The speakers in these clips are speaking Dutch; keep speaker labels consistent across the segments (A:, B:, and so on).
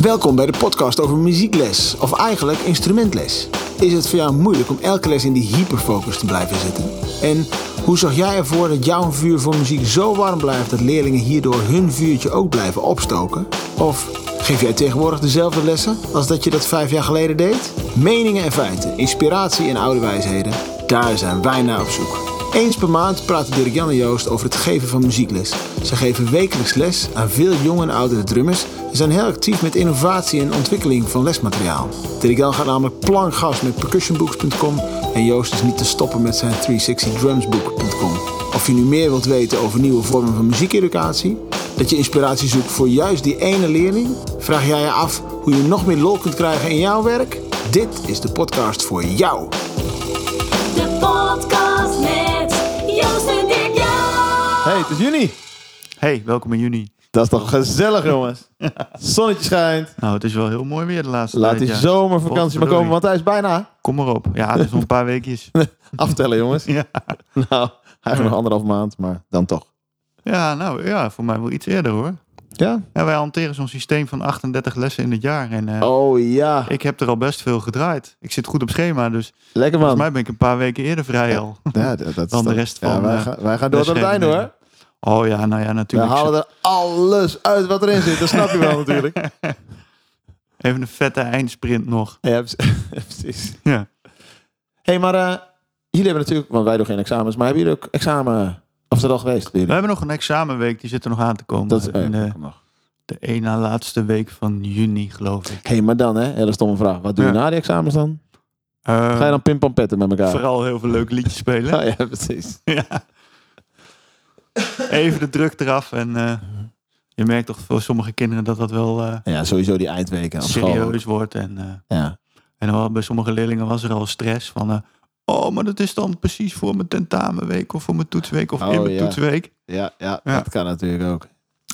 A: Welkom bij de podcast over muziekles, of eigenlijk instrumentles. Is het voor jou moeilijk om elke les in die hyperfocus te blijven zitten? En hoe zorg jij ervoor dat jouw vuur voor muziek zo warm blijft dat leerlingen hierdoor hun vuurtje ook blijven opstoken? Of geef jij tegenwoordig dezelfde lessen als dat je dat vijf jaar geleden deed? Meningen en feiten, inspiratie en oude wijsheden, daar zijn wij naar op zoek. Eens per maand praten Dirk Jan en Joost over het geven van muziekles. Ze geven wekelijks les aan veel jonge en oudere drummers en zijn heel actief met innovatie en ontwikkeling van lesmateriaal. Dirk Jan gaat namelijk plankgas met percussionbooks.com en Joost is niet te stoppen met zijn 360drumsbook.com. Of je nu meer wilt weten over nieuwe vormen van muziekeducatie, dat je inspiratie zoekt voor juist die ene leerling, vraag jij je af hoe je nog meer lol kunt krijgen in jouw werk? Dit is de podcast voor jou.
B: De podcast met Joost en Dirk Jan.
C: Hey, het is juni.
D: Hey, welkom in juni.
C: Dat is toch gezellig, jongens. Zonnetje schijnt.
D: Nou, het is wel heel mooi weer de laatste
C: Laat
D: tijd,
C: die
D: ja.
C: zomervakantie maar komen,
D: Potverdorie.
C: want hij is bijna.
D: Kom maar op. Ja, het is nog een paar weekjes.
C: Aftellen, jongens.
D: ja.
C: Nou, hij heeft nog anderhalf maand, maar dan toch.
D: ja, nou ja, voor mij wel iets eerder hoor.
C: Ja?
D: Ja, wij hanteren zo'n systeem van 38 lessen in het jaar. En eh,
C: Oh ja.
D: ik heb er al best veel gedraaid. Ik zit goed op schema, dus
C: Lekker man.
D: volgens mij ben ik een paar weken eerder vrij al.
C: Ja, dat, dat is
D: Dan de
C: toch-
D: rest
C: Ja,
D: van,
C: wij,
D: eh,
C: gaan, wij gaan door tot het einde,
D: lesgeven.
C: hoor.
D: Oh ja, nou ja,
C: We
D: natuurlijk.
C: halen er alles uit wat erin zit. Dat snap je wel natuurlijk.
D: Even een vette eindsprint nog.
C: Ja, precies. precies.
D: Ja.
C: hey, maar eh, jullie hebben natuurlijk, want wij doen geen examens, maar hebben jullie ook examen, of is dat al geweest? bij
D: We
C: jullie?
D: hebben nog een examenweek, die zit er nog aan te komen.
C: Dat is
D: in
C: eh,
D: de, de één na laatste week van juni, geloof ik.
C: hey, maar dan, hè, hele stomme vraag. Wat doe je
D: Ja.
C: na die examens dan?
D: Eh,
C: Ga je dan pimpampetten met elkaar?
D: Vooral heel veel leuke liedjes spelen.
C: Ah, ja, precies.
D: Ja. Even de druk eraf. En eh, je merkt toch voor sommige kinderen dat dat wel eh,
C: Ja, sowieso die eindweken op school.
D: serieus wordt. En, eh,
C: Ja.
D: en wel, bij sommige leerlingen was er al stress van... eh, oh, maar dat is dan precies voor mijn tentamenweek of voor mijn toetsweek of
C: Oh,
D: in mijn
C: ja.
D: toetsweek.
C: Ja, ja,
D: Ja.
C: dat kan natuurlijk ook.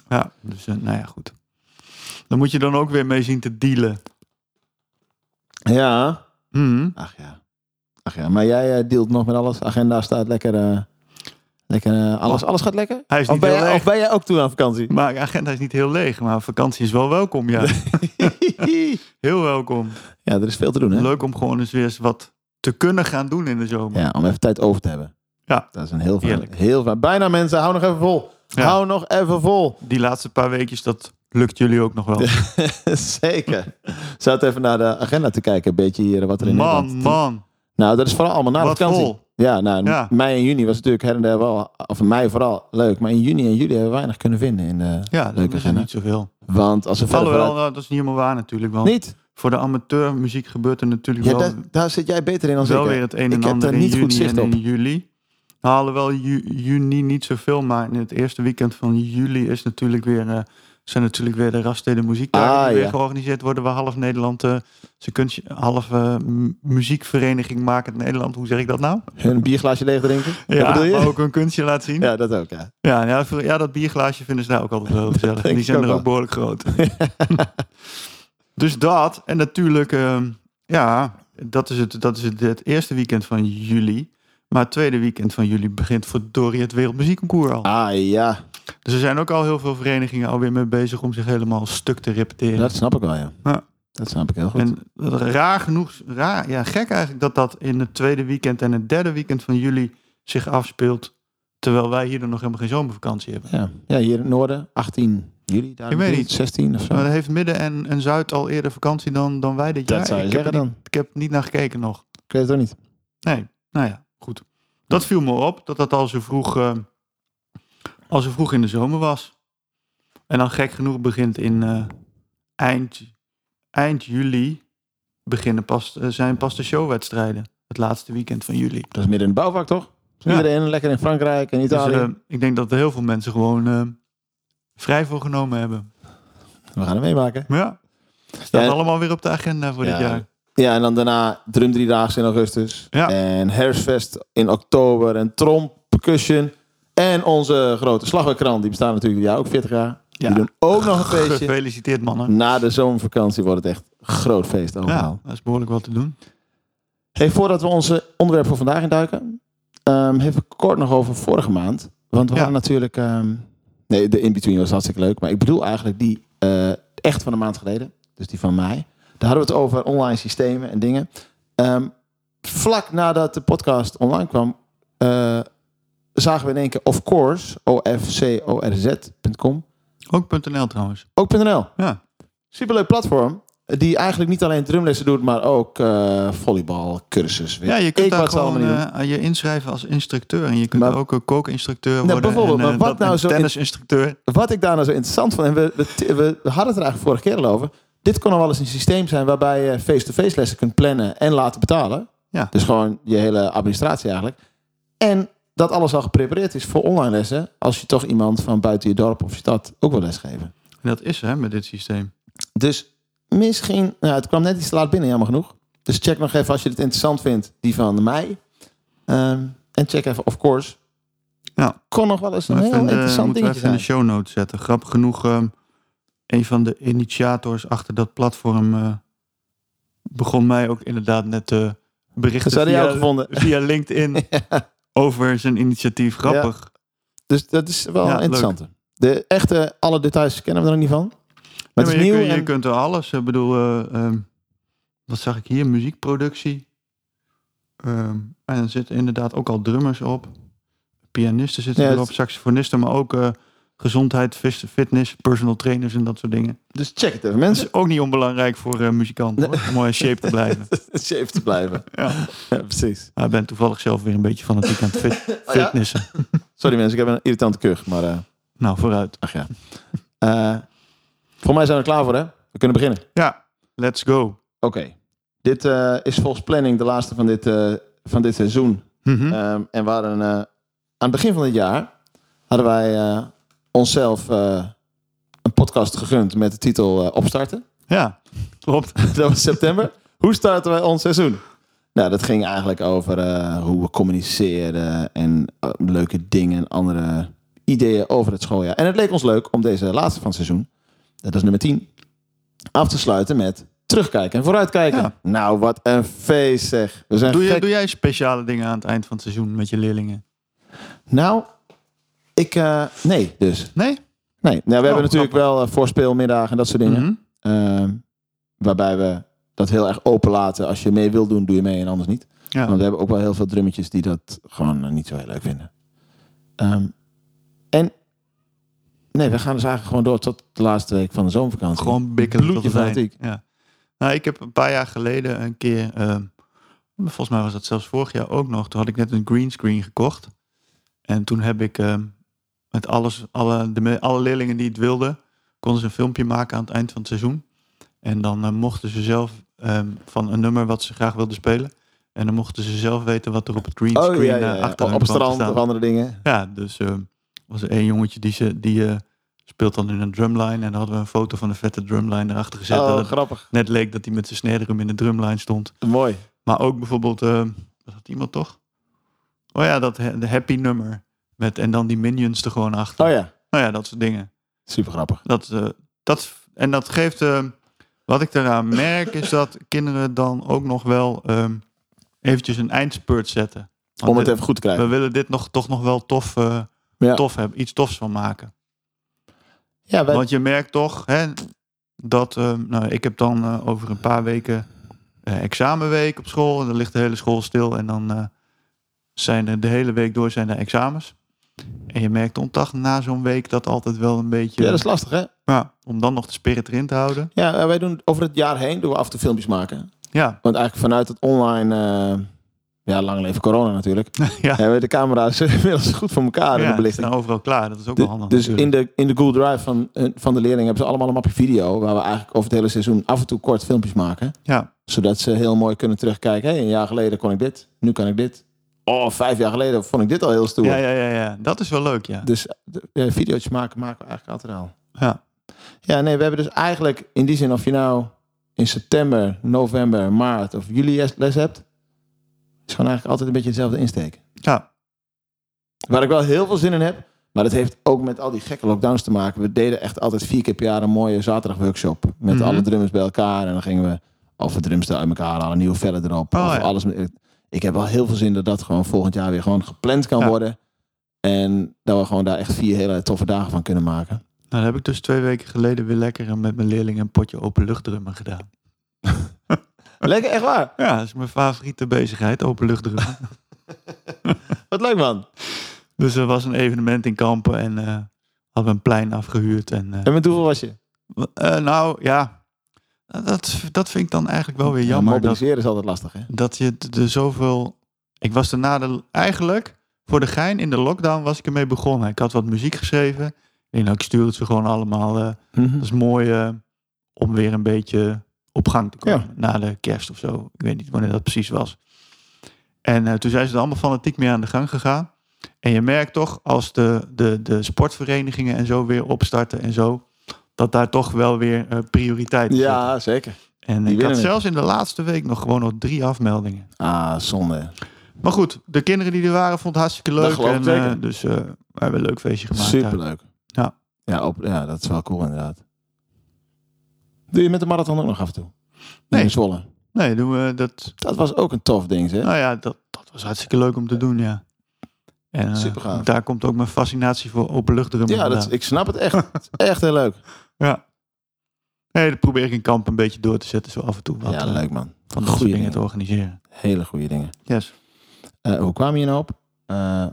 D: Ja, dus eh, nou ja, goed. Dan moet je dan ook weer mee zien te dealen.
C: Ja.
D: Mhm.
C: Ach ja. Ach ja, maar jij eh, dealt nog met alles. Agenda staat lekker. eh, lekker eh, alles, alles gaat lekker?
D: Oh. Hij is
C: Of
D: niet
C: ben,
D: heel
C: jij,
D: leeg.
C: of ben jij ook toe aan vakantie?
D: Maar de agenda is niet heel leeg, maar vakantie is wel welkom, ja. Heel welkom.
C: ja, er is veel te doen, hè?
D: Leuk om gewoon eens weer eens wat te kunnen gaan doen in de zomer.
C: Ja, om even tijd over te hebben.
D: Ja.
C: Dat is een heel fijn.
D: Heerlijk.
C: Heel fijn. Bijna mensen, hou nog even vol.
D: Ja.
C: Hou nog even vol.
D: Die laatste paar weekjes, dat lukt jullie ook nog wel.
C: Zeker. Zat even naar de agenda te kijken, een beetje hier eh, wat er in
D: Man,
C: Nederland-
D: man.
C: Nou, dat is vooral allemaal na de
D: Wat
C: vakantie.
D: vol.
C: Ja, nou,
D: Ja.
C: mei en juni was natuurlijk her en der wel, of mei vooral, leuk. Maar in juni en juli hebben we weinig kunnen vinden in eh, de
D: Ja, dat
C: leuke
D: is er
C: agenda.
D: niet zoveel.
C: Want als we verder
D: Alhoewel,
C: vooruit-
D: nou, dat is niet helemaal waar natuurlijk. Want
C: Niet?
D: voor de amateurmuziek gebeurt er natuurlijk
C: Ja,
D: wel,
C: daar, daar zit jij beter in dan
D: wel
C: ik. hè?
D: weer het een
C: ik
D: en
C: heb
D: ander
C: daar
D: in
C: niet
D: juni
C: goed zicht
D: en
C: op.
D: in juli. Nou, Alhoewel ju- juni niet zoveel, maar in het eerste weekend van juli is natuurlijk weer, eh, zijn natuurlijk weer de Raststeden muziekdagen
C: Ah,
D: die weer
C: ja.
D: georganiseerd worden. Waar half Nederland, eh ze kunt half eh, m- muziekvereniging maken in Nederland. Hoe zeg ik dat nou?
C: Een bierglaasje leeg drinken. Ja,
D: Ja,
C: bedoel je?
D: maar ook hun kunstje laten zien.
C: Ja, dat ook, ja.
D: Ja, ja, voor- ja, dat bierglaasje vinden ze daar ook altijd wel gezellig.
C: denk
D: Die
C: ik
D: zijn
C: ook
D: er
C: wel.
D: ook behoorlijk groot. dus dat. En natuurlijk, ehm, ja, dat is, het, dat is het, het eerste weekend van juli. Maar het tweede weekend van juli begint voor Dorie het Wereldmuziekconcours al.
C: Ah ja,
D: Dus er zijn ook al heel veel verenigingen alweer mee bezig om zich helemaal stuk te repeteren.
C: dat snap ik wel, ja.
D: Ja.
C: Dat snap ik heel goed.
D: en raar genoeg, raar, ja, gek eigenlijk dat dat in het tweede weekend en het derde weekend van juli zich afspeelt. Terwijl wij hier dan nog helemaal geen zomervakantie hebben.
C: Ja. ja, hier in het noorden, 18 juli. Daar
D: Ik weet niet.
C: 16 of zo.
D: Maar heeft Midden en, en Zuid al eerder vakantie dan, dan wij dit jaar?
C: dat zou je
D: ik, heb
C: zeggen
D: er
C: dan.
D: niet- ik heb er niet naar gekeken nog.
C: Ik weet het ook niet.
D: Nee, nou ja, goed. Dat viel me op, dat dat al zo vroeg, eh, al zo vroeg in de zomer was. En dan gek genoeg begint in eh, eind, eind juli beginnen pas, eh, zijn pas de showwedstrijden. Het laatste weekend van juli.
C: Dat is midden in het bouwvak, toch? Dus
D: Ja.
C: Iedereen lekker in Frankrijk en
D: Dus
C: Italië.
D: eh, ik denk dat er heel veel mensen gewoon eh, vrij voor genomen hebben.
C: We gaan het meemaken.
D: Maar ja, staat
C: Ja.
D: allemaal weer op de agenda voor
C: Ja.
D: dit jaar.
C: Ja, en dan daarna Drum Driedaags in augustus.
D: Ja.
C: En Herfstfest in oktober. En Tromp, Percussion. En onze grote slagwerkrant. Die bestaat natuurlijk ja, ook 40 jaar.
D: Ja.
C: Die doen ook nog een feestje.
D: Gefeliciteerd mannen.
C: Na de zomervakantie wordt het echt een groot feest overal.
D: Ja, dat is behoorlijk wat te doen.
C: Hey, voordat we onze onderwerp voor vandaag induiken. ehm even kort nog over vorige maand. Want we
D: Ja.
C: hadden natuurlijk... ehm, nee, de in-between was hartstikke leuk. Maar ik bedoel eigenlijk die eh, echt van een maand geleden. dus die van mij. Daar hadden we het over online systemen en dingen. Ehm, vlak nadat de podcast online kwam, eh, zagen we in één keer Of Course, ofcorz.com,
D: Ook .nl trouwens.
C: ook .nl.
D: Ja.
C: Superleuk platform. Die eigenlijk niet alleen drumlessen doet, maar ook eh volleybal, cursus.
D: ja, je kunt
C: ik
D: daar
C: wat ze
D: gewoon
C: allemaal niet doen.
D: eh, je inschrijven als instructeur. En je kunt
C: Maar- Nou,
D: ook een kookinstructeur worden.
C: bijvoorbeeld,
D: en, eh,
C: maar wat
D: dat-
C: nou
D: en
C: zo in-
D: tennisinstructeur.
C: Wat ik daar nou zo interessant vond, en we, we, we hadden het er eigenlijk vorige keer al over. Dit kon nou wel eens een systeem zijn waarbij je face-to-face lessen kunt plannen en laten betalen.
D: Ja.
C: Dus gewoon je hele administratie eigenlijk. En dat alles al geprepareerd is voor online lessen. Als je toch iemand van buiten je dorp of stad ook wil lesgeven.
D: En dat is hè, met dit systeem.
C: Dus misschien, nou, het kwam net iets te laat binnen, jammer genoeg. Dus check nog even als je het interessant vindt, die van mij. Ehm, en check even, of course.
D: Ja.
C: Kon nog wel eens een
D: Even
C: heel
D: in de-
C: interessant
D: moeten we
C: dingetje
D: even in de
C: zijn.
D: show notes zetten. Grappig genoeg, ehm, een van de initiators achter dat platform eh, begon mij ook inderdaad net te berichten
C: Ze hadden jou
D: via,
C: gevonden.
D: via LinkedIn over zijn initiatief. Grappig.
C: Dus dat is wel
D: Ja,
C: een interessante. De echte, alle details kennen we er niet van. Maar
D: Ja,
C: het
D: maar
C: is
D: je,
C: nieuw.
D: kun- je
C: en-
D: kunt er alles. Ik bedoel, eh, ehm, wat zag ik hier? Muziekproductie. Ehm, en er zitten inderdaad ook al drummers op. Pianisten zitten
C: Ja, het-
D: erop, saxofonisten, maar ook eh, gezondheid, fis- fitness, personal trainers en dat soort dingen.
C: Dus check het even,
D: Dat
C: mensen.
D: is ook niet onbelangrijk voor eh, muzikanten, hoor, om mooi in shape te blijven.
C: Safe te blijven.
D: Ja.
C: Ja, precies.
D: Maar ik ben toevallig zelf weer een beetje fanatiek aan het fit-
C: Oh ja?
D: fitnessen.
C: Sorry mensen, ik heb een irritante kuch, maar eh,
D: Nou, vooruit.
C: ach ja. Eh, voor mij zijn we er klaar voor, hè? We kunnen beginnen.
D: Ja, let's go.
C: Oké. Dit eh, is volgens planning de laatste van dit, eh, van dit seizoen.
D: Mhm.
C: Ehm, en we hadden, eh, aan het begin van het jaar hadden wij eh, onszelf eh, een podcast gegund met de titel eh, Opstarten.
D: Ja, klopt.
C: dat was september. Hoe starten wij ons seizoen? Nou, dat ging eigenlijk over eh, hoe we communiceren en eh, leuke dingen en andere ideeën over het schooljaar. En het leek ons leuk om deze laatste van het seizoen, dat is nummer 10, af te sluiten met terugkijken en vooruitkijken.
D: Ja.
C: Nou, wat een feest zeg. We zijn
D: Doe,
C: gek
D: je, doe jij speciale dingen aan het eind van het seizoen met je leerlingen?
C: Nou, ik. eh, nee, dus.
D: Nee?
C: Nee. Nou, we hebben natuurlijk
D: grappig.
C: wel eh, voorspeelmiddagen en dat soort dingen.
D: Mhm.
C: Ehm, waarbij we dat heel erg open laten. Als je mee wil doen, doe je mee en anders niet.
D: Ja.
C: Want we hebben ook wel heel veel drummetjes die dat gewoon eh, niet zo heel leuk vinden. Ehm, en. Nee, we gaan dus eigenlijk gewoon door tot de laatste week van de zomervakantie.
D: Gewoon bikkelen. tot
C: Bloedje
D: het eind.
C: fanatiek.
D: Ja. Nou, ik heb een paar jaar geleden een keer, ehm, volgens mij was dat zelfs vorig jaar ook nog, toen had ik net een greenscreen gekocht. En toen heb ik ehm, met alles, alle, de, me- alle leerlingen die het wilden, konden ze een filmpje maken aan het eind van het seizoen. En dan eh, mochten ze zelf ehm, van een nummer wat ze graag wilden spelen. En dan mochten ze zelf weten wat er op het greenscreen
C: Oh ja,
D: screen
C: ja, ja, ja.
D: achter
C: op
D: hun
C: op
D: kwam te
C: strand
D: staan.
C: of andere dingen.
D: Ja, dus ehm, was er één jongetje die, ze, die eh, speelt dan in een drumline. En daar hadden we een foto van een vette drumline erachter gezet. en
C: Oh,
D: dat
C: grappig.
D: net leek dat hij met zijn sneerum in de drumline stond.
C: Mooi.
D: Maar ook bijvoorbeeld, ehm dat had iemand toch? Oh ja, dat ha- de happy nummer. Met, en dan die minions er gewoon achter.
C: Oh ja,
D: Nou ja, dat soort dingen.
C: super grappig.
D: Dat, eh, dat, en dat geeft, ehm, wat ik daaraan merk, is dat kinderen dan ook nog wel ehm, eventjes een eindspurt zetten. Want
C: Om het
D: dit-
C: even goed te krijgen.
D: we willen dit nog, toch nog wel tof, eh,
C: Ja.
D: tof hebben, iets tofs van maken.
C: Ja, wij,
D: Want je merkt toch hè, dat, ehm, nou, ik heb dan eh, over een paar weken eh, examenweek op school. En dan ligt de hele school stil en dan eh, zijn er de hele week door zijn er examens. En je merkt om dag na zo'n week dat altijd wel een beetje...
C: ja, dat is lastig hè.
D: Ja, om dan nog de spirit erin te houden.
C: Ja, eh, wij doen over het jaar heen doen we af en toe filmpjes maken.
D: Ja,
C: Want eigenlijk vanuit het online, eh, ja, lang leven corona natuurlijk,
D: ja.
C: hebben we de camera's inmiddels goed voor elkaar in
D: ja
C: de
D: die
C: belichting.
D: staan overal klaar. Dat is ook
C: Du-
D: wel handig.
C: dus in
D: natuurlijk.
C: de, in de Google Drive van, eh, van de leerlingen hebben ze allemaal een mapje video waar we eigenlijk over het hele seizoen af en toe kort filmpjes maken.
D: Ja,
C: Zodat ze heel mooi kunnen terugkijken. Hey, een jaar geleden kon ik dit, nu kan ik dit. Oh, vijf jaar geleden vond ik dit al heel stoer.
D: ja, ja, ja, ja. Dat is wel leuk, ja.
C: Dus eh, de- eh, video's maken maken we eigenlijk altijd al.
D: Ja,
C: Ja, nee, we hebben dus eigenlijk in die zin of je nou in september, november, maart of juli les- les hebt, is gewoon eigenlijk altijd een beetje dezelfde insteek.
D: ja.
C: Waar ik wel heel veel zin in heb, maar dat heeft ook met al die gekke lockdowns te maken. We deden echt altijd vier keer per jaar een mooie zaterdagworkshop met
D: Mhm.
C: alle drummers bij elkaar en dan gingen we of het drumstel uit elkaar halen, nieuwe vellen erop,
D: Oh,
C: of
D: ja.
C: alles. met- Ik heb wel heel veel zin dat dat gewoon volgend jaar weer gewoon gepland kan
D: Ja.
C: worden en dat we gewoon daar echt vier hele toffe dagen van kunnen maken.
D: Nou, dat heb ik dus twee weken geleden weer lekker eh, met mijn leerlingen een potje openluchtdrummen gedaan.
C: Lekker, echt waar.
D: Ja, dat is mijn favoriete bezigheid, openluchtdrummen.
C: Wat leuk, man.
D: dus er was een evenement in Kampen en eh, hadden we een plein afgehuurd. En, eh,
C: En met hoeveel was je?
D: eh, nou, ja, dat, dat vind ik dan eigenlijk
C: Oh,
D: wel weer jammer. dat-
C: Mobiliseren is altijd lastig, hè?
D: dat je t- er zoveel. Ik was daarna de, eigenlijk voor de gein in de lockdown was ik ermee begonnen. Ik had wat muziek geschreven. Ik denk, nou, ik stuur het ze gewoon allemaal. eh,
C: Mhm.
D: dat is mooi eh, om weer een beetje op gang te komen. Na de kerst of zo. Ik weet niet wanneer dat precies was. En eh, toen zijn ze er allemaal fanatiek mee aan de gang gegaan. En je merkt toch, als de, de, de sportverenigingen en zo weer opstarten en zo, dat daar toch wel weer eh, prioriteit is.
C: Ja, zeker.
D: en
C: die
D: ik had
C: winnen het.
D: zelfs in de laatste week nog gewoon nog drie afmeldingen.
C: Ah, zonde.
D: Maar goed, de kinderen die er waren vonden het hartstikke
C: Dat
D: leuk.
C: geloof ik
D: en,
C: zeker.
D: eh, dus eh, we hebben een leuk feestje gemaakt. daar.
C: Superleuk.
D: Ja.
C: Ja, op, ja, dat is wel cool inderdaad. Doe je met de marathon ook nog af en toe?
D: Nee.
C: In Zwolle.
D: Nee, doen we dat.
C: Dat was ook een tof ding, hè?
D: Nou ja, dat, dat was hartstikke leuk om te doen, ja. En, eh,
C: Supergaaf.
D: Daar komt ook mijn fascinatie voor openluchtdrummen
C: Ja, dat,
D: vandaan.
C: ik snap het echt. Het is echt heel leuk.
D: ja. Nee, dat probeer ik in kamp een beetje door te zetten, zo af en toe. Wat,
C: ja,
D: eh,
C: leuk man.
D: Van dat soort
C: Goeie
D: dingen
C: dingen.
D: te organiseren.
C: Hele goede dingen.
D: Yes.
C: Eh, hoe kwam je nou op? Eh,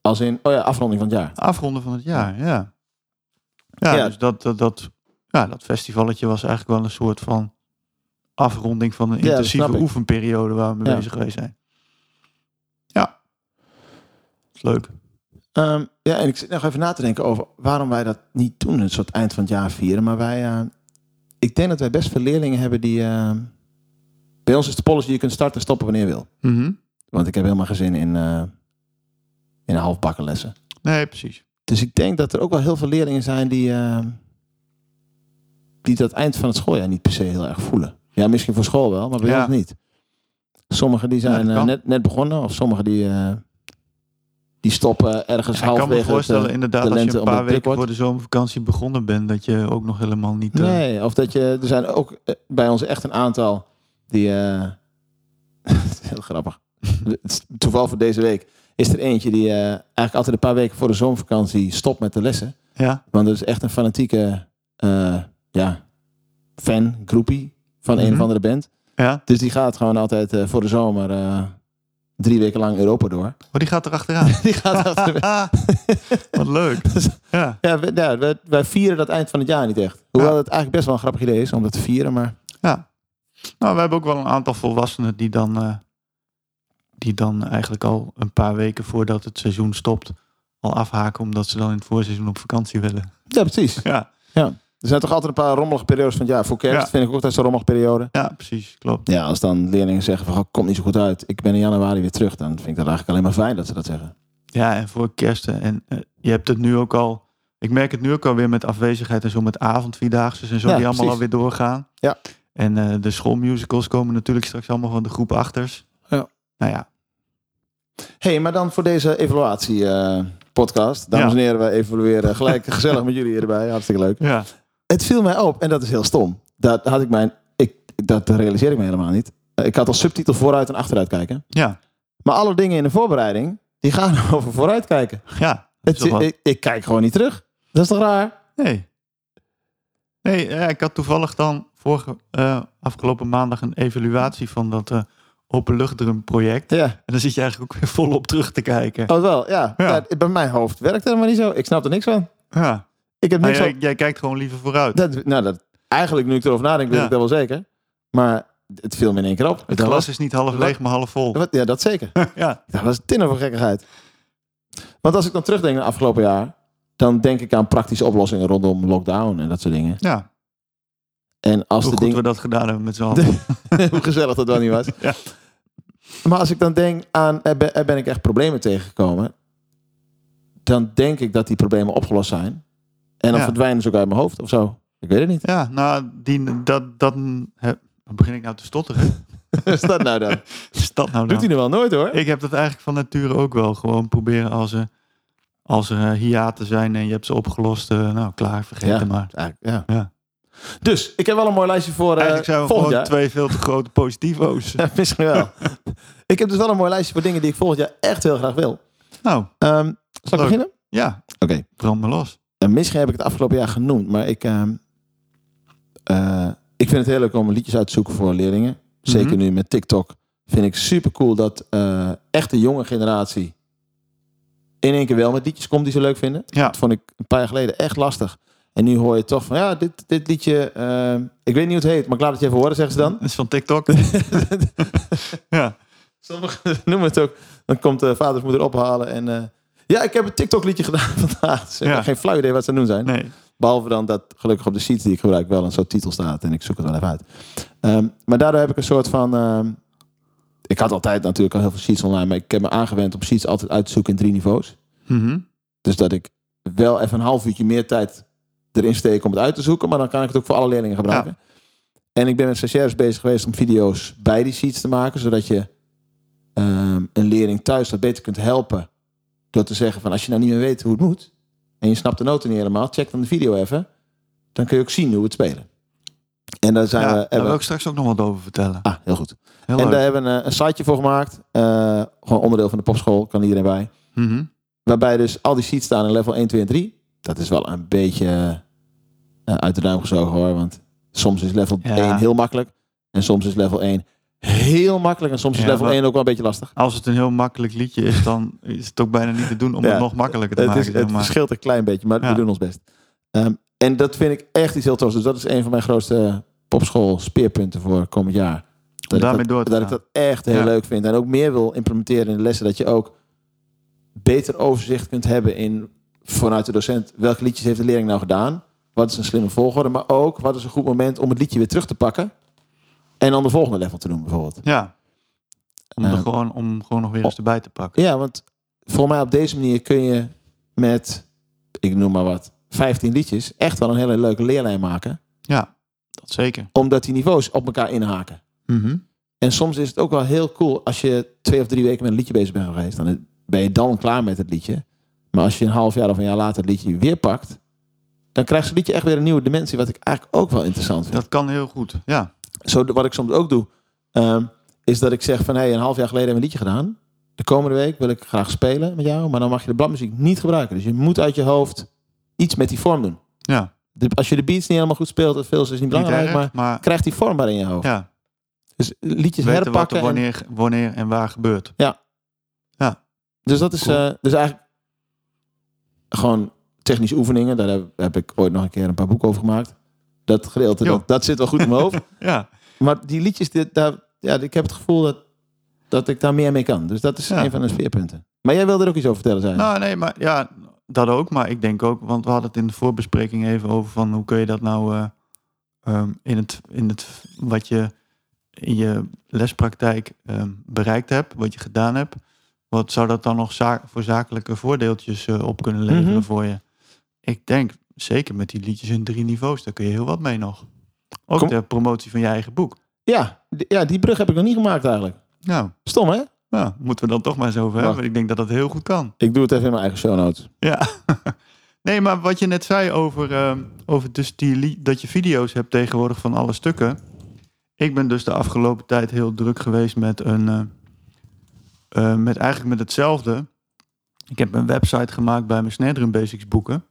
C: als in, oh ja, afronding van het jaar.
D: Afronden van het jaar, ja. Ja,
C: Ja.
D: dus dat, dat, dat, ja, dat festivaletje was eigenlijk wel een soort van afronding van een
C: dat
D: intensieve
C: snap ik.
D: oefenperiode waar we mee
C: Ja.
D: bezig geweest zijn. Ja. Is Leuk.
C: Ehm, ja, en ik zit nog even na te denken over waarom wij dat niet doen, een soort eind van het jaar vieren. Maar wij, eh, ik denk dat wij best veel leerlingen hebben die... eh, bij ons is de policy, je kunt starten en stoppen wanneer je wil.
D: Mhm.
C: Want ik heb helemaal geen zin in, eh in halfbakken lessen.
D: Nee, precies.
C: Dus ik denk dat er ook wel heel veel leerlingen zijn die, eh, die dat eind van het schooljaar niet per se heel erg voelen. Ja, misschien voor school wel, maar bij
D: Ja.
C: ons niet. Sommigen die zijn
D: Ja, dat
C: eh,
D: kan.
C: net, net begonnen of sommigen die, eh, die stoppen ergens
D: Ja, ik kan
C: halverwege.
D: me
C: het, eh,
D: voorstellen
C: de
D: inderdaad als
C: lente
D: je een
C: omdat
D: paar
C: het druk
D: weken
C: wordt.
D: voor de zomervakantie begonnen bent, dat je ook nog helemaal niet... eh,
C: Nee, of dat je, er zijn ook eh, bij ons echt een aantal die, eh, het is heel grappig. Het is Toeval voor deze week is er eentje die eh, eigenlijk altijd een paar weken voor de zomervakantie stopt met de lessen.
D: Ja,
C: Want dat is echt een fanatieke eh ja, fan, groepie van een
D: Mhm.
C: of andere band.
D: ja.
C: Dus die gaat gewoon altijd eh, voor de zomer eh, drie weken lang Europa door.
D: Oh, die gaat erachteraan.
C: Die gaat achter-
D: Ah, wat leuk. Ja,
C: ja, we- ja, we- wij vieren dat eind van het jaar niet echt. Hoewel
D: Ja.
C: het eigenlijk best wel een grappig idee is om dat te vieren. Maar
D: Ja. Nou, we hebben ook wel een aantal volwassenen die dan, eh, die dan eigenlijk al een paar weken voordat het seizoen stopt al afhaken omdat ze dan in het voorseizoen op vakantie willen.
C: ja, precies.
D: Ja,
C: Er zijn toch altijd een paar rommelige periodes van het jaar. Voor kerst
D: Ja.
C: vind ik ook altijd zo'n rommelige periode.
D: ja precies, klopt.
C: Ja, als dan leerlingen zeggen van, "Goh, komt niet zo goed uit. Ik ben in januari weer terug. Dan vind ik dat eigenlijk alleen maar fijn dat ze dat zeggen.
D: Ja, en voor kersten. En eh, je hebt het nu ook al, ik merk het nu ook alweer met afwezigheid en zo met avondvierdaagse en zo
C: Ja,
D: die allemaal
C: precies.
D: alweer doorgaan.
C: Ja.
D: En eh, de schoolmusicals komen natuurlijk straks allemaal van de groep achters.
C: Ja.
D: Nou ja,
C: Hé, hey, maar dan voor deze evaluatie-podcast. Dames
D: Ja.
C: en heren, we evalueren gelijk gezellig met jullie erbij. Hartstikke leuk.
D: ja.
C: Het viel mij op, en dat is heel stom. Dat had ik mijn. Ik, dat realiseer ik me helemaal niet. Eh, Ik had als subtitel vooruit en achteruit kijken.
D: Ja,
C: Maar alle dingen in de voorbereiding, die gaan over vooruit kijken.
D: ja.
C: Het,
D: Zo wat.
C: ik, ik kijk gewoon niet terug. Dat is toch raar?
D: Nee. Nee, eh, ik had toevallig dan vorige, eh, afgelopen maandag een evaluatie van dat eh openluchtdrumproject.
C: Ja,
D: En dan zit je eigenlijk ook weer volop terug te kijken.
C: oh wel, ja.
D: Ja.
C: Ja, bij mijn hoofd werkt het helemaal niet zo. Ik snap er niks van.
D: Ah, Ja.
C: Ik heb
D: Maar
C: niks
D: jij,
C: van.
D: jij kijkt gewoon liever vooruit.
C: Dat, nou, dat, eigenlijk, nu ik erover nadenk, weet
D: Ja.
C: ik dat wel zeker. Maar het viel me in één keer op.
D: het
C: Dat
D: glas
C: was-
D: is niet half leeg, maar half vol.
C: dat was- ja, dat zeker.
D: ja.
C: Ik dacht, wat is dit nou voor gekkigheid? Want als ik dan terugdenk naar afgelopen jaar, dan denk ik aan praktische oplossingen rondom lockdown en dat soort dingen.
D: ja.
C: En als
D: Hoe
C: de
D: goed
C: dingen,
D: we dat gedaan hebben met z'n allen.
C: hoe gezellig dat wel niet was.
D: Ja.
C: Maar als ik dan denk aan, er ben, er ben ik echt problemen tegengekomen, dan denk ik dat die problemen opgelost zijn. En dan
D: Ja.
C: verdwijnen ze ook uit mijn hoofd of zo. Ik weet het niet.
D: Ja, nou, die, dat, dat hè, dan begin ik nou te stotteren.
C: Wat is dat nou dan?
D: Is dat nou
C: Doet hij
D: dan?
C: er wel nooit hoor.
D: Ik heb dat eigenlijk van nature ook wel. Gewoon proberen als er, als er eh, hiaten zijn en je hebt ze opgelost. eh, nou, klaar, vergeet
C: Ja.
D: het maar.
C: Eigenlijk, Ah, ja.
D: Ja.
C: Dus, ik heb wel een mooi lijstje voor eh
D: Eigenlijk zijn we
C: volgend
D: gewoon
C: jaar.
D: twee veel te grote positivo's.
C: Ja, misschien wel. ik heb dus wel een mooi lijstje voor dingen die ik volgend jaar echt heel graag wil.
D: nou,
C: Ehm zal ik
D: Leuk.
C: beginnen?
D: ja.
C: Oké.
D: Brand me los.
C: Nou, misschien heb ik het afgelopen jaar genoemd, maar ik, ehm, eh, ik vind het heel leuk om liedjes uit te zoeken voor leerlingen. Zeker
D: Mhm.
C: nu met TikTok. Vind ik super cool dat eh, echt de jonge generatie in één keer wel met liedjes komt die ze leuk vinden.
D: Ja.
C: Dat vond ik een paar jaar geleden echt lastig. En nu hoor je toch van, ja, dit, dit liedje, ehm, ik weet niet hoe het heet, maar ik laat het je even horen, zeggen ze dan.
D: Dat is van TikTok. ja.
C: Sommigen noemen het ook. Dan komt de vaders moeder ophalen en... eh, ja, ik heb een TikTok-liedje gedaan vandaag. Ze hebben
D: Ja.
C: geen flauw idee wat ze aan het doen zijn.
D: Nee.
C: Behalve dan dat gelukkig op de sheets die ik gebruik wel een soort titel staat. En ik zoek het wel even uit. Ehm, maar daardoor heb ik een soort van... ehm, ik had altijd natuurlijk al heel veel sheets online. Maar ik heb me aangewend om sheets altijd uit te zoeken in drie niveaus.
D: Mhm.
C: Dus dat ik wel even een half uurtje meer tijd erin steek om het uit te zoeken. Maar dan kan ik het ook voor alle leerlingen gebruiken. En ik ben met stagiaires bezig geweest om video's bij die sheets te maken. Zodat je ehm, een leerling thuis dat beter kunt helpen. Door te zeggen van als je nou niet meer weet hoe het moet. En je snapt de noten niet helemaal. Check dan de video even. Dan kun je ook zien hoe we het spelen. En daar zijn
D: Ja,
C: we...
D: daar
C: hebben-
D: wil ik straks ook nog wat over vertellen.
C: Ah, heel goed.
D: Heel
C: en
D: leuk.
C: daar hebben we een, een siteje voor gemaakt. Eh, gewoon onderdeel van de popschool. Kan iedereen bij.
D: Mhm.
C: Waarbij dus al die sheets staan in level 1, 2 en 3. Dat is wel een beetje eh, uit de duim gezogen hoor. Want soms is level
D: Ja.
C: 1 heel makkelijk. En soms is level 1 heel makkelijk. En soms is
D: Ja,
C: level
D: maar-
C: 1 ook wel een beetje lastig.
D: Als het een heel makkelijk liedje is, dan is het ook bijna niet te doen om
C: Ja,
D: het nog makkelijker te
C: Het,
D: maken.
C: is,
D: zeg
C: het
D: maar.
C: verschilt een klein beetje, maar
D: Ja.
C: we doen ons best. Ehm, en dat vind ik echt iets heel tofs. Dus dat is een van mijn grootste popschool speerpunten voor komend jaar. Dat,
D: daarmee
C: ik, dat,
D: door te
C: dat ik
D: gaan.
C: dat echt heel
D: Ja.
C: leuk vind. En ook meer wil implementeren in de lessen. Dat je ook beter overzicht kunt hebben in, vanuit de docent... welke liedjes heeft de leerling nou gedaan? Wat is een slimme volgorde? Maar ook, wat is een goed moment om het liedje weer terug te pakken... en dan de volgende level te doen bijvoorbeeld.
D: Ja. Om, er
C: Eh,
D: gewoon, om gewoon nog weer eens erbij te pakken.
C: Oh. Ja, want voor mij op deze manier kun je met, ik noem maar wat, 15 liedjes echt wel een hele leuke leerlijn maken.
D: Ja, dat zeker.
C: Omdat die niveaus op elkaar inhaken.
D: Mhm.
C: En soms is het ook wel heel cool als je twee of drie weken met een liedje bezig bent geweest. Dan ben je dan klaar met het liedje. Maar als je een half jaar of een jaar later het liedje weer pakt. Dan krijgt het liedje echt weer een nieuwe dimensie. Wat ik eigenlijk ook wel interessant vind.
D: Dat kan heel goed. Ja.
C: zo, wat ik soms ook doe, ehm, is dat ik zeg van hey, een half jaar geleden hebben we een liedje gedaan. De komende week wil ik graag spelen met jou, maar dan mag je de bladmuziek niet gebruiken. Dus je moet uit je hoofd iets met die vorm doen.
D: Ja.
C: De- als je de beats niet helemaal goed speelt, dat veel is niet
D: Niet
C: belangrijk,
D: erg,
C: maar
D: maar,
C: krijg die vorm maar in je hoofd.
D: ja.
C: Dus liedjes
D: weten wat
C: herpakken.
D: er
C: en-
D: wanneer, wanneer en waar gebeurt.
C: dus dat is
D: Cool.
C: eh, dus eigenlijk gewoon technische oefeningen. Daar heb, heb ik ooit nog een keer een paar boeken over gemaakt. Dat gedeelte,
D: Jo.
C: dat, dat zit wel goed in mijn hoofd.
D: Ja.
C: Maar die liedjes, dit, daar, ja, ik heb het gevoel dat, dat ik daar meer mee kan. Dus dat is
D: Ja.
C: een van de speerpunten. Maar jij wilde er ook iets over vertellen, zijn.
D: Nou, nee, maar ja, dat ook. Maar ik denk ook, want we hadden het in de voorbespreking even over van hoe kun je dat nou eh, ehm, in, het, in het wat je in je lespraktijk ehm, bereikt hebt, wat je gedaan hebt. Wat zou dat dan nog za- voor zakelijke voordeeltjes eh, op kunnen leveren
C: Mhm.
D: voor je? Ik denk, zeker met die liedjes in drie niveaus, daar kun je heel wat mee nog. Ook
C: Kom.
D: de promotie van je eigen boek.
C: ja, d- ja, die brug heb ik nog niet gemaakt eigenlijk.
D: Nou,
C: Stom, hè?
D: nou moeten we dan toch maar eens over hebben.
C: Wacht.
D: Ik denk dat dat heel goed kan.
C: Ik doe het even in mijn eigen show notes.
D: Ja. Nee, maar wat je net zei over, ehm, over dus die li- dat je video's hebt tegenwoordig van alle stukken. Ik ben dus de afgelopen tijd heel druk geweest met een. eh, eh, met eigenlijk met hetzelfde. Ik heb een website gemaakt bij mijn Snare Drum Basics boeken.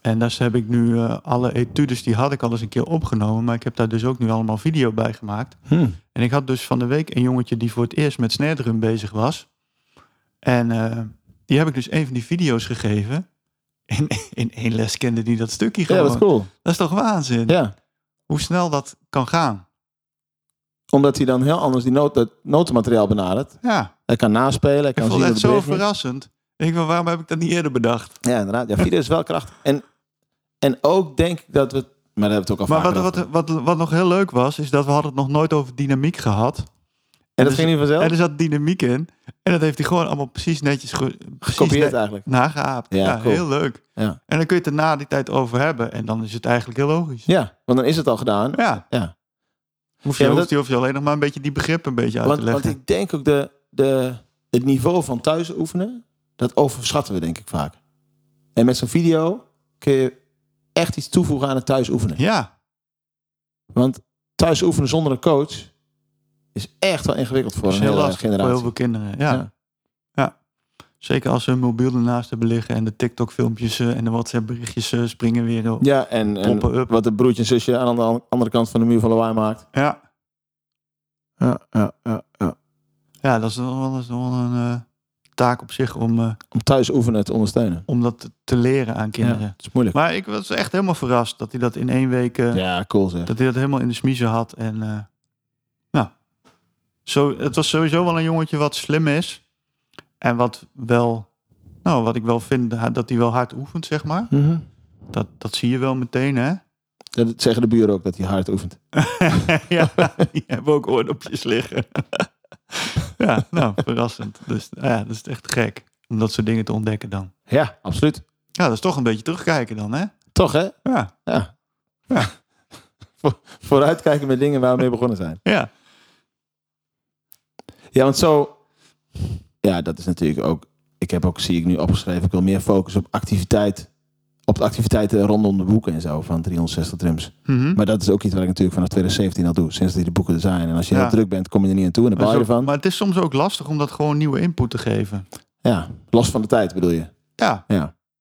D: En daar heb ik nu eh, alle etudes, die had ik al eens een keer opgenomen. Maar ik heb daar dus ook nu allemaal video bij gemaakt.
C: Hmm.
D: En ik had dus van de week een jongetje die voor het eerst met snare drum bezig was. En eh, die heb ik dus een van die video's gegeven. In, in één les kende die dat stukje
C: Ja,
D: gewoon.
C: dat is cool.
D: Dat is toch waanzin?
C: Ja.
D: Hoe snel dat kan gaan.
C: Omdat hij dan heel anders die noot, dat notenmateriaal benadert.
D: Ja,
C: Hij kan naspelen, hij
D: ik
C: kan
D: vond
C: zien
D: het
C: hoe
D: zo
C: de beweging is.
D: verrassend. Ik denk, waarom heb ik dat niet eerder bedacht?
C: Ja, inderdaad. Ja, video is wel krachtig. En, en ook denk ik dat we... Maar daar hebben we het ook al
D: Maar wat,
C: vaker
D: wat,
C: over.
D: wat, wat nog heel leuk was, is dat we hadden het nog nooit over dynamiek gehad.
C: Oh. En dat
D: dus-
C: ging niet vanzelf?
D: En er zat dynamiek in. En dat heeft hij gewoon allemaal precies netjes ge, precies
C: Kopieert
D: net-
C: eigenlijk.
D: nageaapt.
C: Ja,
D: Ja,
C: cool.
D: heel leuk.
C: Ja.
D: En dan kun je het er na die tijd over hebben. En dan is het eigenlijk heel logisch.
C: Ja, want dan is het al gedaan.
D: Ja.
C: Ja.
D: Hoef je,
C: Ja, maar
D: hoeft je, hoef je alleen nog maar een beetje die begrippen een beetje uit
C: Want,
D: te leggen.
C: want ik denk ook de, de, het niveau van thuis oefenen, dat overschatten we denk ik vaak. En met zo'n video kun je echt iets toevoegen aan het thuis oefenen.
D: Ja,
C: Want thuis oefenen zonder een coach is echt wel ingewikkeld voor
D: dat is
C: een
D: heel
C: hele
D: lastig voor heel
C: generatie.
D: veel kinderen. Ja.
C: Ja.
D: Ja. Zeker als ze hun mobiel ernaast hebben liggen en de TikTok-filmpjes eh, en de WhatsApp-berichtjes eh, springen weer op.
C: Ja, en, en
D: Poppen up.
C: wat de broertje en zusje aan de an- andere kant van de muur van lawaai maakt.
D: Ja,
C: Ja, ja, ja, ja.
D: ja dat is nog wel, dat is nog wel een eh, taak op zich om, eh,
C: Om thuis oefenen te ondersteunen.
D: om dat te- te leren aan
C: Ja,
D: kinderen.
C: het is moeilijk.
D: Maar ik was echt helemaal verrast dat hij dat in één week... eh,
C: ja, cool zeg.
D: Dat hij dat helemaal in de smiezen had. En eh, nou, zo, het was sowieso wel een jongetje wat slim is. En wat wel, nou, wat ik wel vind, ha- dat hij wel hard oefent, zeg maar.
C: Mhm.
D: Dat, dat zie je wel meteen, hè?
C: Dat zeggen de buren ook, dat hij hard oefent.
D: ja, die hebben ook oordopjes liggen. ja, nou, verrassend. Dus nou ja, dat is echt gek om dat soort dingen te ontdekken dan.
C: Ja, absoluut.
D: Ja, dat is toch een beetje terugkijken dan, hè?
C: Toch, hè?
D: Ja,
C: Ja.
D: Ja.
C: Voor- Vooruitkijken met dingen waar we mee begonnen zijn.
D: ja.
C: Ja, want zo... Ja, dat is natuurlijk ook... Ik heb ook, zie ik nu opgeschreven, ik wil meer focus op activiteit. Op de activiteiten rondom de boeken en zo van 360 drums.
D: Mhm.
C: Maar dat is ook iets wat ik natuurlijk vanaf 2017 al doe, sinds die de boeken er zijn. En als je
D: Ja.
C: heel druk bent, kom je er niet aan toe en dan
D: Maar,
C: baal
D: zo-
C: je ervan.
D: maar het is soms ook lastig om dat gewoon nieuwe input te geven.
C: Ja, los van de tijd bedoel je.
D: Ja,
C: Ja.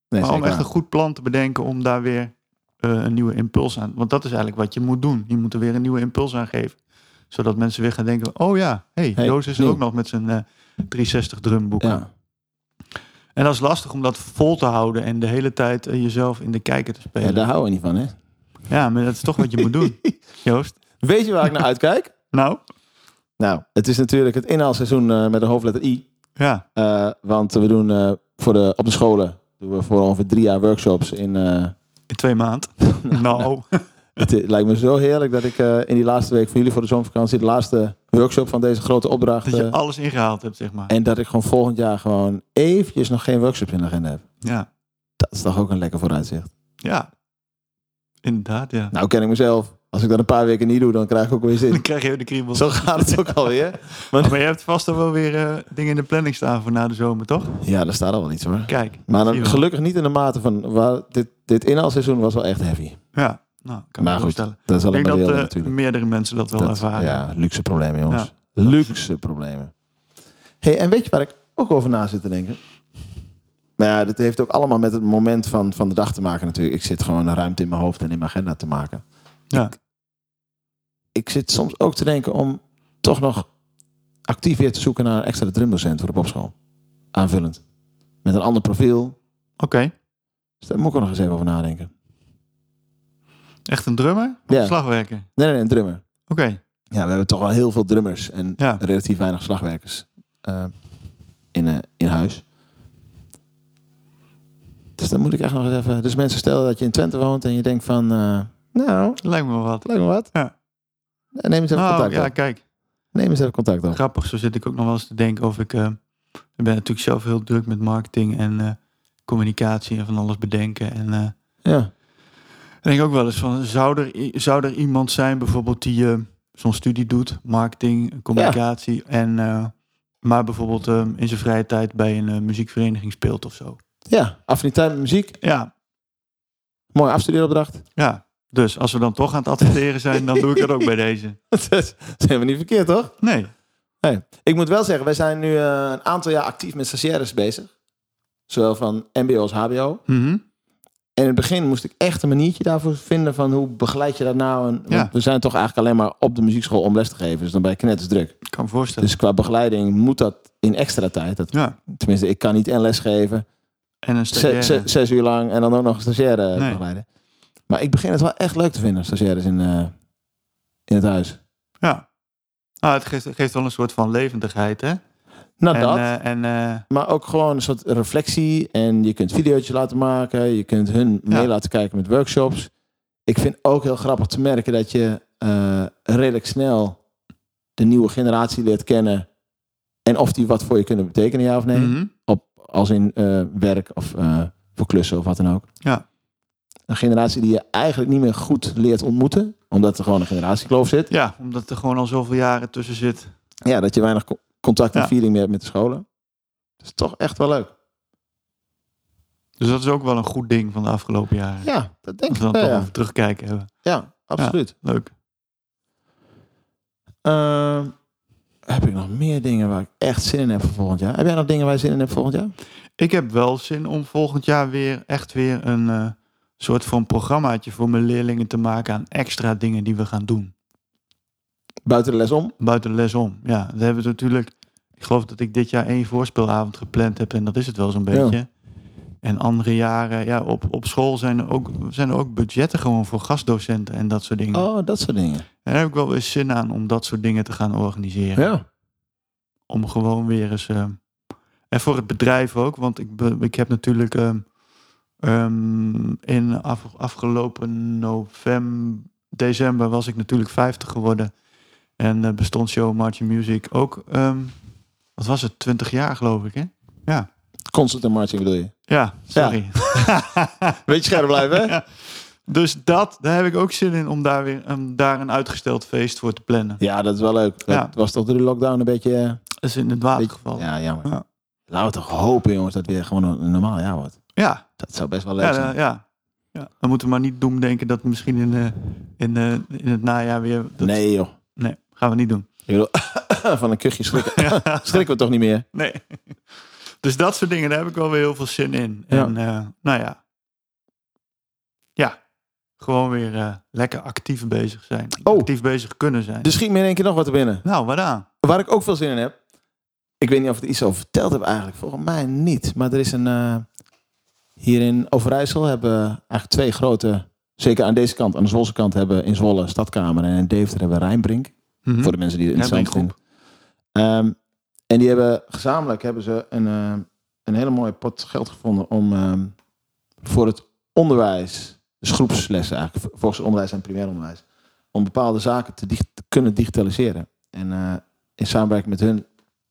C: Nee,
D: maar om
C: zeker
D: echt een
C: waar.
D: goed plan te bedenken om daar weer eh, een nieuwe impuls aan. Want dat is eigenlijk wat je moet doen. Je moet er weer een nieuwe impuls aan geven. Zodat mensen weer gaan denken: oh ja, hey,
C: Hey,
D: Joost is er
C: nieuw.
D: ook nog met zijn eh 360 drumboek.
C: Ja.
D: En dat is lastig om dat vol te houden en de hele tijd eh, jezelf in de kijker te
C: ja,
D: spelen. Ja,
C: daar hou je niet van, hè?
D: maar dat is toch wat je moet doen, Joost.
C: Weet je waar ik naar uitkijk?
D: Nou,
C: Nou, het is natuurlijk het inhaalseizoen eh, met de hoofdletter I.
D: ja,
C: Eh, want we doen eh, voor de, op de scholen doen we voor ongeveer drie jaar workshops. In, eh,
D: in twee maanden. nou,
C: het lijkt me zo heerlijk dat ik eh, in die laatste week van jullie voor de zomervakantie de laatste workshop van deze grote opdracht.
D: dat je
C: eh,
D: alles ingehaald hebt, zeg maar.
C: en dat ik gewoon volgend jaar gewoon eventjes nog geen workshops in de agenda heb.
D: Ja,
C: Dat is toch ook een lekker vooruitzicht.
D: ja. Inderdaad, ja.
C: Nou ken ik mezelf. Als ik dat een paar weken niet doe, dan krijg ik ook weer
D: Dan
C: zin.
D: krijg je weer de kriebels.
C: Zo gaat het ook alweer.
D: Maar je hebt vast al wel weer eh, dingen in de planning staan voor na de zomer, toch?
C: Ja, daar staat al wel iets hoor.
D: Kijk.
C: Maar
D: zie
C: dan
D: je wel.
C: gelukkig niet in de mate van... Waar, dit, dit inhaalseizoen was wel echt heavy.
D: Ja, nou,
C: Maar
D: kan me
C: goed,
D: voorstellen.
C: dat is
D: Ik
C: alleen
D: denk
C: maar
D: dat
C: heel
D: eh,
C: natuurlijk.
D: meerdere mensen dat wel
C: Dat-
D: ervaren.
C: Ja, luxe problemen, jongens. Luxe problemen. hey, en weet je waar ik ook over na zit te denken? Nou ja, dat heeft ook allemaal met het moment van, van de dag te maken natuurlijk. Ik zit gewoon een ruimte in mijn hoofd en in mijn agenda te maken.
D: Ja.
C: Ik zit soms ook te denken om toch nog actief weer te zoeken naar een extra drumdocent voor de popschool. Aanvullend. Met een ander profiel.
D: Oké,
C: Dus daar moet ik ook nog eens even over nadenken.
D: echt een drummer? Of
C: Ja.
D: een slagwerker? Oké,
C: Nee, nee, nee, een drummer. Ja, we hebben toch wel heel veel drummers en
D: Ja.
C: relatief weinig slagwerkers eh, in, eh, in huis. Dus dan moet ik echt nog eens even... Dus mensen, stel dat je in Twente woont en je denkt van... eh, nou,
D: lijkt me wel wat.
C: lijkt me wat.
D: Ja.
C: Neem eens even
D: Nou,
C: contact
D: ja,
C: op.
D: kijk.
C: Neem eens even contact op.
D: Grappig, zo zit ik ook nog wel eens te denken of ik... eh, ik ben natuurlijk zelf heel druk met marketing en eh, communicatie en van alles bedenken. En eh,
C: Ja.
D: Ik denk ook wel eens van, zou er, i- zou er iemand zijn bijvoorbeeld die eh, zo'n studie doet, marketing, communicatie, en, eh, maar bijvoorbeeld eh, in zijn vrije tijd bij een eh, muziekvereniging speelt of zo.
C: ja, affiniteit met muziek.
D: Ja,
C: Mooie afstudeeropdracht.
D: ja. Dus als we dan toch aan het adverteren zijn, dan doe ik dat ook bij deze.
C: dat is- dat zijn we niet verkeerd, toch?
D: Nee.
C: Nee. Ik moet wel zeggen, wij zijn nu eh, een aantal jaar actief met stagiaires bezig. Zowel van mbo als hbo.
D: Mhm.
C: En in het begin moest ik echt een maniertje daarvoor vinden van hoe begeleid je dat nou? En, want
D: Ja.
C: We zijn toch eigenlijk alleen maar op de muziekschool om les te geven, dus dan ben je knetters druk.
D: Ik kan me voorstellen.
C: Dus qua begeleiding moet dat in extra tijd. Dat,
D: ja.
C: tenminste, ik kan niet en les geven,
D: En een
C: Dus ze-
D: stagiaire.
C: ze- zes uur lang en dan ook nog een stagiaire eh,
D: Nee.
C: begeleiden. Maar ik begin het wel echt leuk te vinden, stagiaires in, eh, in het huis.
D: Ja. Ah, het geeft, geeft wel een soort van levendigheid, hè?
C: Nou,
D: en
C: dat.
D: eh, en eh,
C: Maar ook gewoon een soort reflectie. En je kunt video's laten maken. Je kunt hun mee
D: Ja.
C: laten kijken met workshops. Ik vind ook heel grappig te merken dat je eh, redelijk snel de nieuwe generatie leert kennen. En of die wat voor je kunnen betekenen, ja of nee.
D: mhm.
C: Op, als in eh, werk of eh, voor klussen of wat dan ook.
D: Ja.
C: Een generatie die je eigenlijk niet meer goed leert ontmoeten. Omdat er gewoon een generatiekloof zit.
D: ja, omdat er gewoon al zoveel jaren tussen zit.
C: Ja, dat je weinig co- contact en
D: Ja.
C: feeling meer hebt met de scholen. Dat is toch echt wel leuk.
D: Dus dat is ook wel een goed ding van de afgelopen jaren.
C: Ja, dat denk
D: Als
C: ik eh,
D: we dan
C: wel,
D: toch
C: ja.
D: over terugkijken hebben.
C: Ja, absoluut.
D: Leuk.
C: Ehm, heb ik nog meer dingen waar ik echt zin in heb voor volgend jaar? Heb jij nog dingen waar je zin in hebt volgend jaar?
D: Ik heb wel zin om volgend jaar weer echt weer een eh, soort van programmaatje voor mijn leerlingen te maken aan extra dingen die we gaan doen.
C: Buiten de les om?
D: Buiten de les om. Ja, we hebben we natuurlijk. Ik geloof dat ik dit jaar één voorspeelavond gepland heb en dat is het wel zo'n beetje. En andere jaren, ja, op, op school zijn er, ook, zijn er ook budgetten gewoon voor gastdocenten en dat soort dingen.
C: Oh, dat soort dingen.
D: En daar heb ik wel eens zin aan om dat soort dingen te gaan organiseren.
C: Ja.
D: om gewoon weer eens. ehm, en voor het bedrijf ook, want ik, be- ik heb natuurlijk ehm, ehm, in af- afgelopen november, december was ik natuurlijk 50 geworden. En eh, bestond Show Martin Music ook, ehm, wat was het, 20 jaar geloof ik hè?
C: Constant en marching bedoel je?
D: Ja, sorry.
C: Weet je scherp blijven, hè?
D: dus dat, daar heb ik ook zin in om daar weer om daar een uitgesteld feest voor te plannen.
C: Ja, dat is wel leuk. Dat
D: Ja.
C: was toch door de lockdown een beetje... eh,
D: Dat is in het water
C: beetje-
D: gevallen. Ja,
C: Ja, jammer.
D: Ja.
C: Laten we toch hopen, jongens, dat het weer gewoon een een normaal jaar wordt.
D: ja,
C: Dat zou best wel leuk
D: Ja,
C: zijn.
D: dan- ja. ja. Dan moeten we maar niet doen denken dat misschien in, eh, in, eh, in het najaar weer... dat-
C: Nee, joh.
D: Nee, gaan we niet doen.
C: Ik bedoel, van een kuchje schrikken. schrikken we toch niet meer?
D: Nee. Dus dat soort dingen, daar heb ik wel weer heel veel zin in.
C: Ja.
D: En eh, nou ja. Ja. Gewoon weer eh, lekker actief bezig zijn.
C: Oh.
D: Actief bezig kunnen zijn.
C: Dus schiet me in één keer nog wat er binnen.
D: Nou, waaraan?
C: Waar ik ook veel zin in heb. Ik weet niet of ik er iets over verteld heb eigenlijk. Volgens mij niet. Maar er is een... eh, hier in Overijssel hebben we eigenlijk twee grote... Zeker aan deze kant, aan de Zwolse kant hebben in Zwolle Stadkamer. En in Deventer hebben we Rijnbrink.
D: Mhm.
C: Voor de mensen die het interessant
D: Rijnbrink
C: vinden. Ehm, en die hebben gezamenlijk hebben ze een, ehm, een hele mooie pot geld gevonden om ehm, voor het onderwijs, dus groepslessen eigenlijk, v- volksonderwijs en primair onderwijs, om bepaalde zaken te, dig- te kunnen digitaliseren. En eh, in samenwerking met hun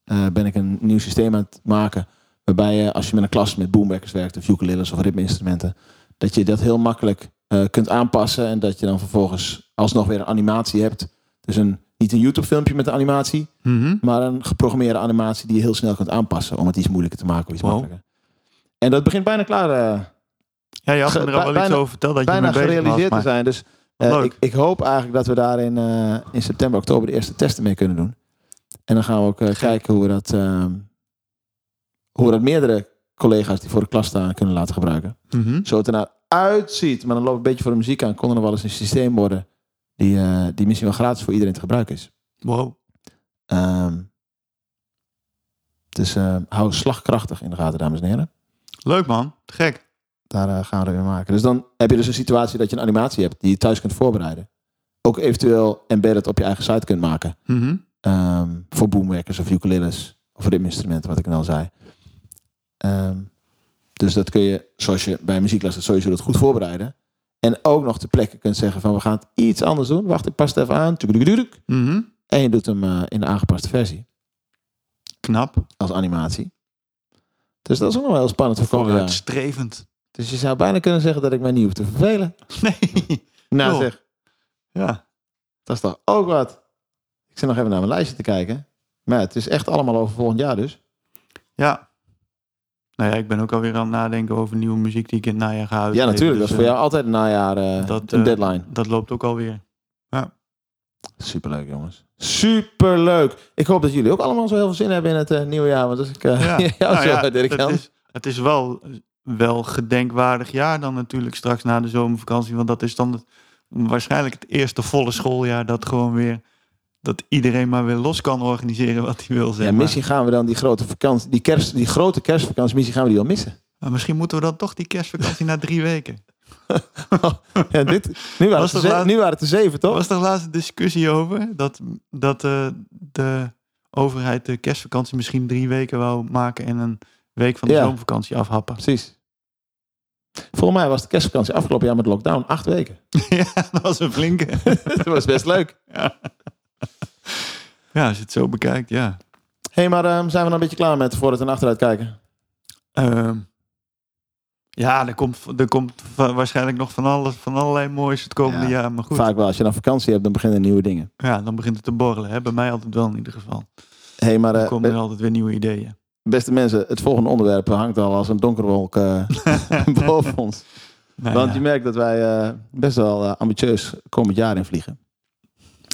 C: eh, ben ik een nieuw systeem aan het maken, waarbij je als je met een klas met boombackers werkt of ukuleles of ritmeinstrumenten, dat je dat heel makkelijk eh, kunt aanpassen en dat je dan vervolgens alsnog weer een animatie hebt. Dus een, niet een YouTube filmpje met de animatie,
D: Mhm.
C: maar een geprogrammeerde animatie die je heel snel kunt aanpassen om het iets moeilijker te maken of iets
D: Wow.
C: makkelijker. En dat begint bijna klaar, eh,
D: Ja, je had me er
C: Ge-
D: al wel iets
C: bijna-
D: over verteld dat je
C: bijna
D: mee bezig was.
C: gerealiseerd te
D: maar-
C: zijn. Dus
D: Wat
C: eh,
D: leuk.
C: ik, ik hoop eigenlijk dat we daar in, eh, in september, oktober de eerste testen mee kunnen doen. En dan gaan we ook eh, kijken hoe we dat, ehm, hoe we dat meerdere collega's die voor de klas staan kunnen laten gebruiken.
D: Mhm.
C: Zo het ernaar uitziet, maar dan loopt een beetje voor de muziek aan, kon er nog wel eens een systeem worden die, eh, die misschien wel gratis voor iedereen te gebruiken is.
D: Wow.
C: Ehm, dus eh, hou slagkrachtig in de gaten, dames en heren.
D: Leuk man. Te Gek.
C: Daar eh, gaan we er weer maken. Dus dan heb je dus een situatie dat je een animatie hebt die je thuis kunt voorbereiden. Ook eventueel embedded op je eigen site kunt maken.
D: Mhm.
C: Ehm, voor boomwerkers of ukuleles of ritmeinstrumenten, wat ik net al zei. Ehm, dus dat kun je, zoals je bij muziekles dat sowieso dat goed voorbereiden. En ook nog ter plekke kunt zeggen van we gaan het iets anders doen. Wacht, ik pas het even aan. Tukudukudukudu.
D: Mhm.
C: En je doet hem eh, in de aangepaste versie.
D: Knap.
C: als animatie. Dus dat is ook nog wel heel spannend voor komend jaar.
D: Vooruitstrevend.
C: Dus je zou bijna kunnen zeggen dat ik mij niet hoef te vervelen.
D: Nee.
C: Nou
D: Joh.
C: zeg,
D: Ja.
C: dat is toch ook wat. Ik zit nog even naar mijn lijstje te kijken. Maar ja, het is echt allemaal over volgend jaar dus.
D: Ja. Nou ja, ik ben ook alweer aan het nadenken over nieuwe muziek die ik in het najaar ga
C: Ja,
D: uitgeven.
C: natuurlijk. Dat
D: Dus,
C: is voor
D: eh,
C: jou altijd een najaar eh,
D: dat,
C: een
D: eh,
C: deadline.
D: Dat loopt ook alweer.
C: Superleuk jongens. Superleuk. Ik hoop dat jullie ook allemaal zo heel veel zin hebben in het eh, nieuwe jaar. Want als ik eh
D: Ja.
C: jou
D: Nou
C: zo
D: ja,
C: Dirk
D: het,
C: Jan.
D: is, het is wel, wel gedenkwaardig jaar dan natuurlijk straks na de zomervakantie. Want dat is dan het- waarschijnlijk het eerste volle schooljaar dat gewoon weer... Dat iedereen maar weer los kan organiseren wat hij wil. Zeg
C: Ja,
D: maar.
C: misschien gaan we dan die grote vakantie, die, kerst, die grote kerstvakantie, misschien gaan we die wel missen.
D: Maar misschien moeten we dan toch die kerstvakantie na drie weken.
C: ja, dit, nu, waren het er
D: Was dat
C: ze-
D: laat-
C: nu waren het er zeven,
D: Er
C: toch?
D: was toch laatst een discussie over dat, dat eh, de overheid de kerstvakantie misschien drie weken wou maken en een week van de
C: Ja.
D: zomervakantie afhappen.
C: Precies. Volgens mij was de kerstvakantie afgelopen jaar met lockdown acht weken.
D: ja, dat was een flinke.
C: dat was best leuk.
D: Ja, als je het zo bekijkt, ja.
C: hey, maar ehm, zijn we dan een beetje klaar met vooruit en achteruit kijken?
D: Ehm, ja, er komt, er komt va- waarschijnlijk nog van, alles, van allerlei moois het komende
C: Ja.
D: jaar. Maar goed,
C: Vaak wel, als je dan vakantie hebt, dan beginnen nieuwe dingen.
D: ja, dan begint het te borrelen. Hè? Bij mij altijd wel in ieder geval.
C: hey, maar
D: Dan
C: eh,
D: komen er altijd weer nieuwe ideeën.
C: be- beste mensen, het volgende onderwerp hangt al als een donkerwolk eh, boven ons.
D: Nou
C: Want
D: ja.
C: je merkt dat wij eh, best wel eh, ambitieus komend jaar in vliegen.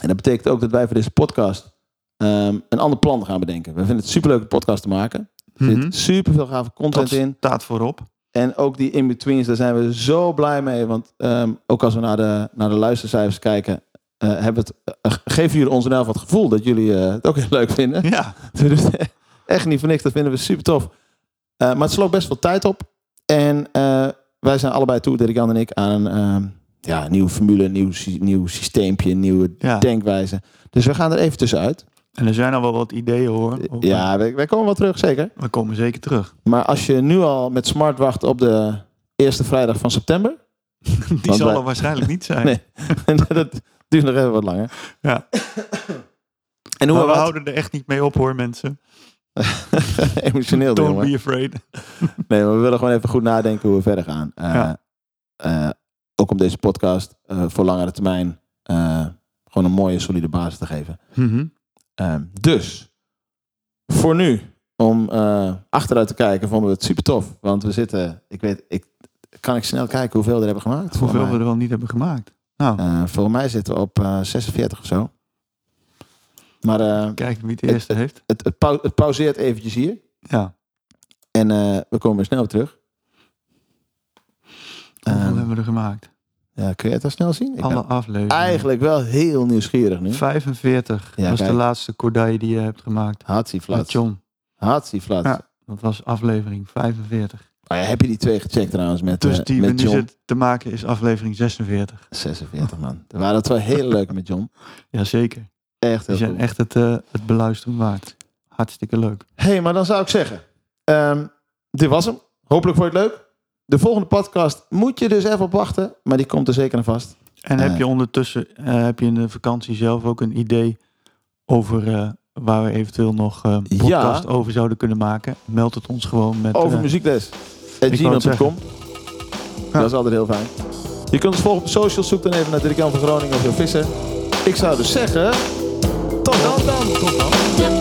C: En dat betekent ook dat wij voor deze podcast ehm, een ander plan gaan bedenken. We vinden het superleuk een podcast te maken. Er zit
D: Mhm.
C: super veel gave
D: Dat
C: content in.
D: staat voorop.
C: En ook die in-betweens, daar zijn we zo blij mee. Want ehm, ook als we naar de, naar de luistercijfers kijken, eh, hebben we het, eh, geven jullie ons in elk geval het gevoel dat jullie eh, het ook heel leuk vinden.
D: Ja,
C: We doen het echt niet voor niks. Dat vinden we super tof. Eh, maar het sloot best veel tijd op. En eh, wij zijn allebei toe, Dirk-Jan en ik, aan een ehm, ja, een nieuwe formule, een nieuw, sy- nieuw systeempje, een nieuwe
D: Ja.
C: denkwijze. Dus we gaan er even tussenuit.
D: en er zijn al wel wat ideeën hoor. Ook, eh,
C: Ja, wij, wij komen wel terug, zeker.
D: We komen zeker terug.
C: Maar als je nu al met smart wacht op de eerste vrijdag van september,
D: Die
C: Want
D: zal
C: wij-
D: er waarschijnlijk niet zijn.
C: Nee. dat duurt nog even wat langer.
D: Ja.
C: En hoe
D: Maar Nou, we
C: we Nou, wat?
D: houden er echt niet mee op hoor mensen.
C: Emotioneel,
D: Don't
C: jongen.
D: be afraid.
C: Nee, maar we willen gewoon even goed nadenken hoe we verder gaan. Eh,
D: Ja.
C: eh, ook om deze podcast eh, voor langere termijn eh, gewoon een mooie, solide basis te geven.
D: Mhm.
C: Ehm, dus, voor nu, om eh, achteruit te kijken, vonden we het super tof. Want we zitten, ik weet, ik, kan ik snel kijken hoeveel we er hebben gemaakt?
D: Hoeveel
C: Volgens
D: we
C: mij,
D: er wel niet hebben gemaakt. Nou,
C: Eh, volgens mij zitten we op eh, 46 of zo. Maar eh,
D: kijk wie het eerste heeft.
C: het, het, pau- het pauzeert eventjes hier.
D: Ja.
C: En eh, we komen weer snel op terug.
D: Hoeveel
C: Ehm,
D: hebben we er gemaakt?
C: ja, kun je het dan snel zien? Ik
D: Alle
C: ben
D: afleveringen.
C: eigenlijk wel heel nieuwsgierig nu.
D: 45
C: Ja,
D: was
C: kijk.
D: de laatste cordaille die je hebt gemaakt. Met
C: Hatsieflat.
D: John.
C: Hatsieflat.
D: Ja. Dat was aflevering 45.
C: Maar Oh ja, heb je die twee gecheckt trouwens met, eh,
D: Dus die we
C: met
D: nu
C: John?
D: zitten te maken is aflevering 46.
C: 46 man. We waren het wel heel leuk met John.
D: Jazeker.
C: Echt
D: Die
C: heel
D: zijn
C: cool.
D: echt het, eh, het beluisteren waard. Hartstikke leuk.
C: hey, maar dan zou ik zeggen. ehm, dit was hem. Hopelijk vond je het leuk. De volgende podcast moet je dus even op wachten. Maar die komt er zeker aan vast.
D: En
C: Eh.
D: heb je ondertussen, eh, heb je in de vakantie zelf ook een idee over eh, waar we eventueel nog eh, een
C: Ja.
D: podcast over zouden kunnen maken? Meld het ons gewoon met...
C: Over
D: eh,
C: muziekles.
D: het
C: gmail.com. Dat is altijd heel fijn. Je kunt ons volgen op de socials. Zoek dan even naar Dirk-Jan van Groningen of Jo Visser. Ik zou dus zeggen... Tot dan dan! Tot dan!
B: De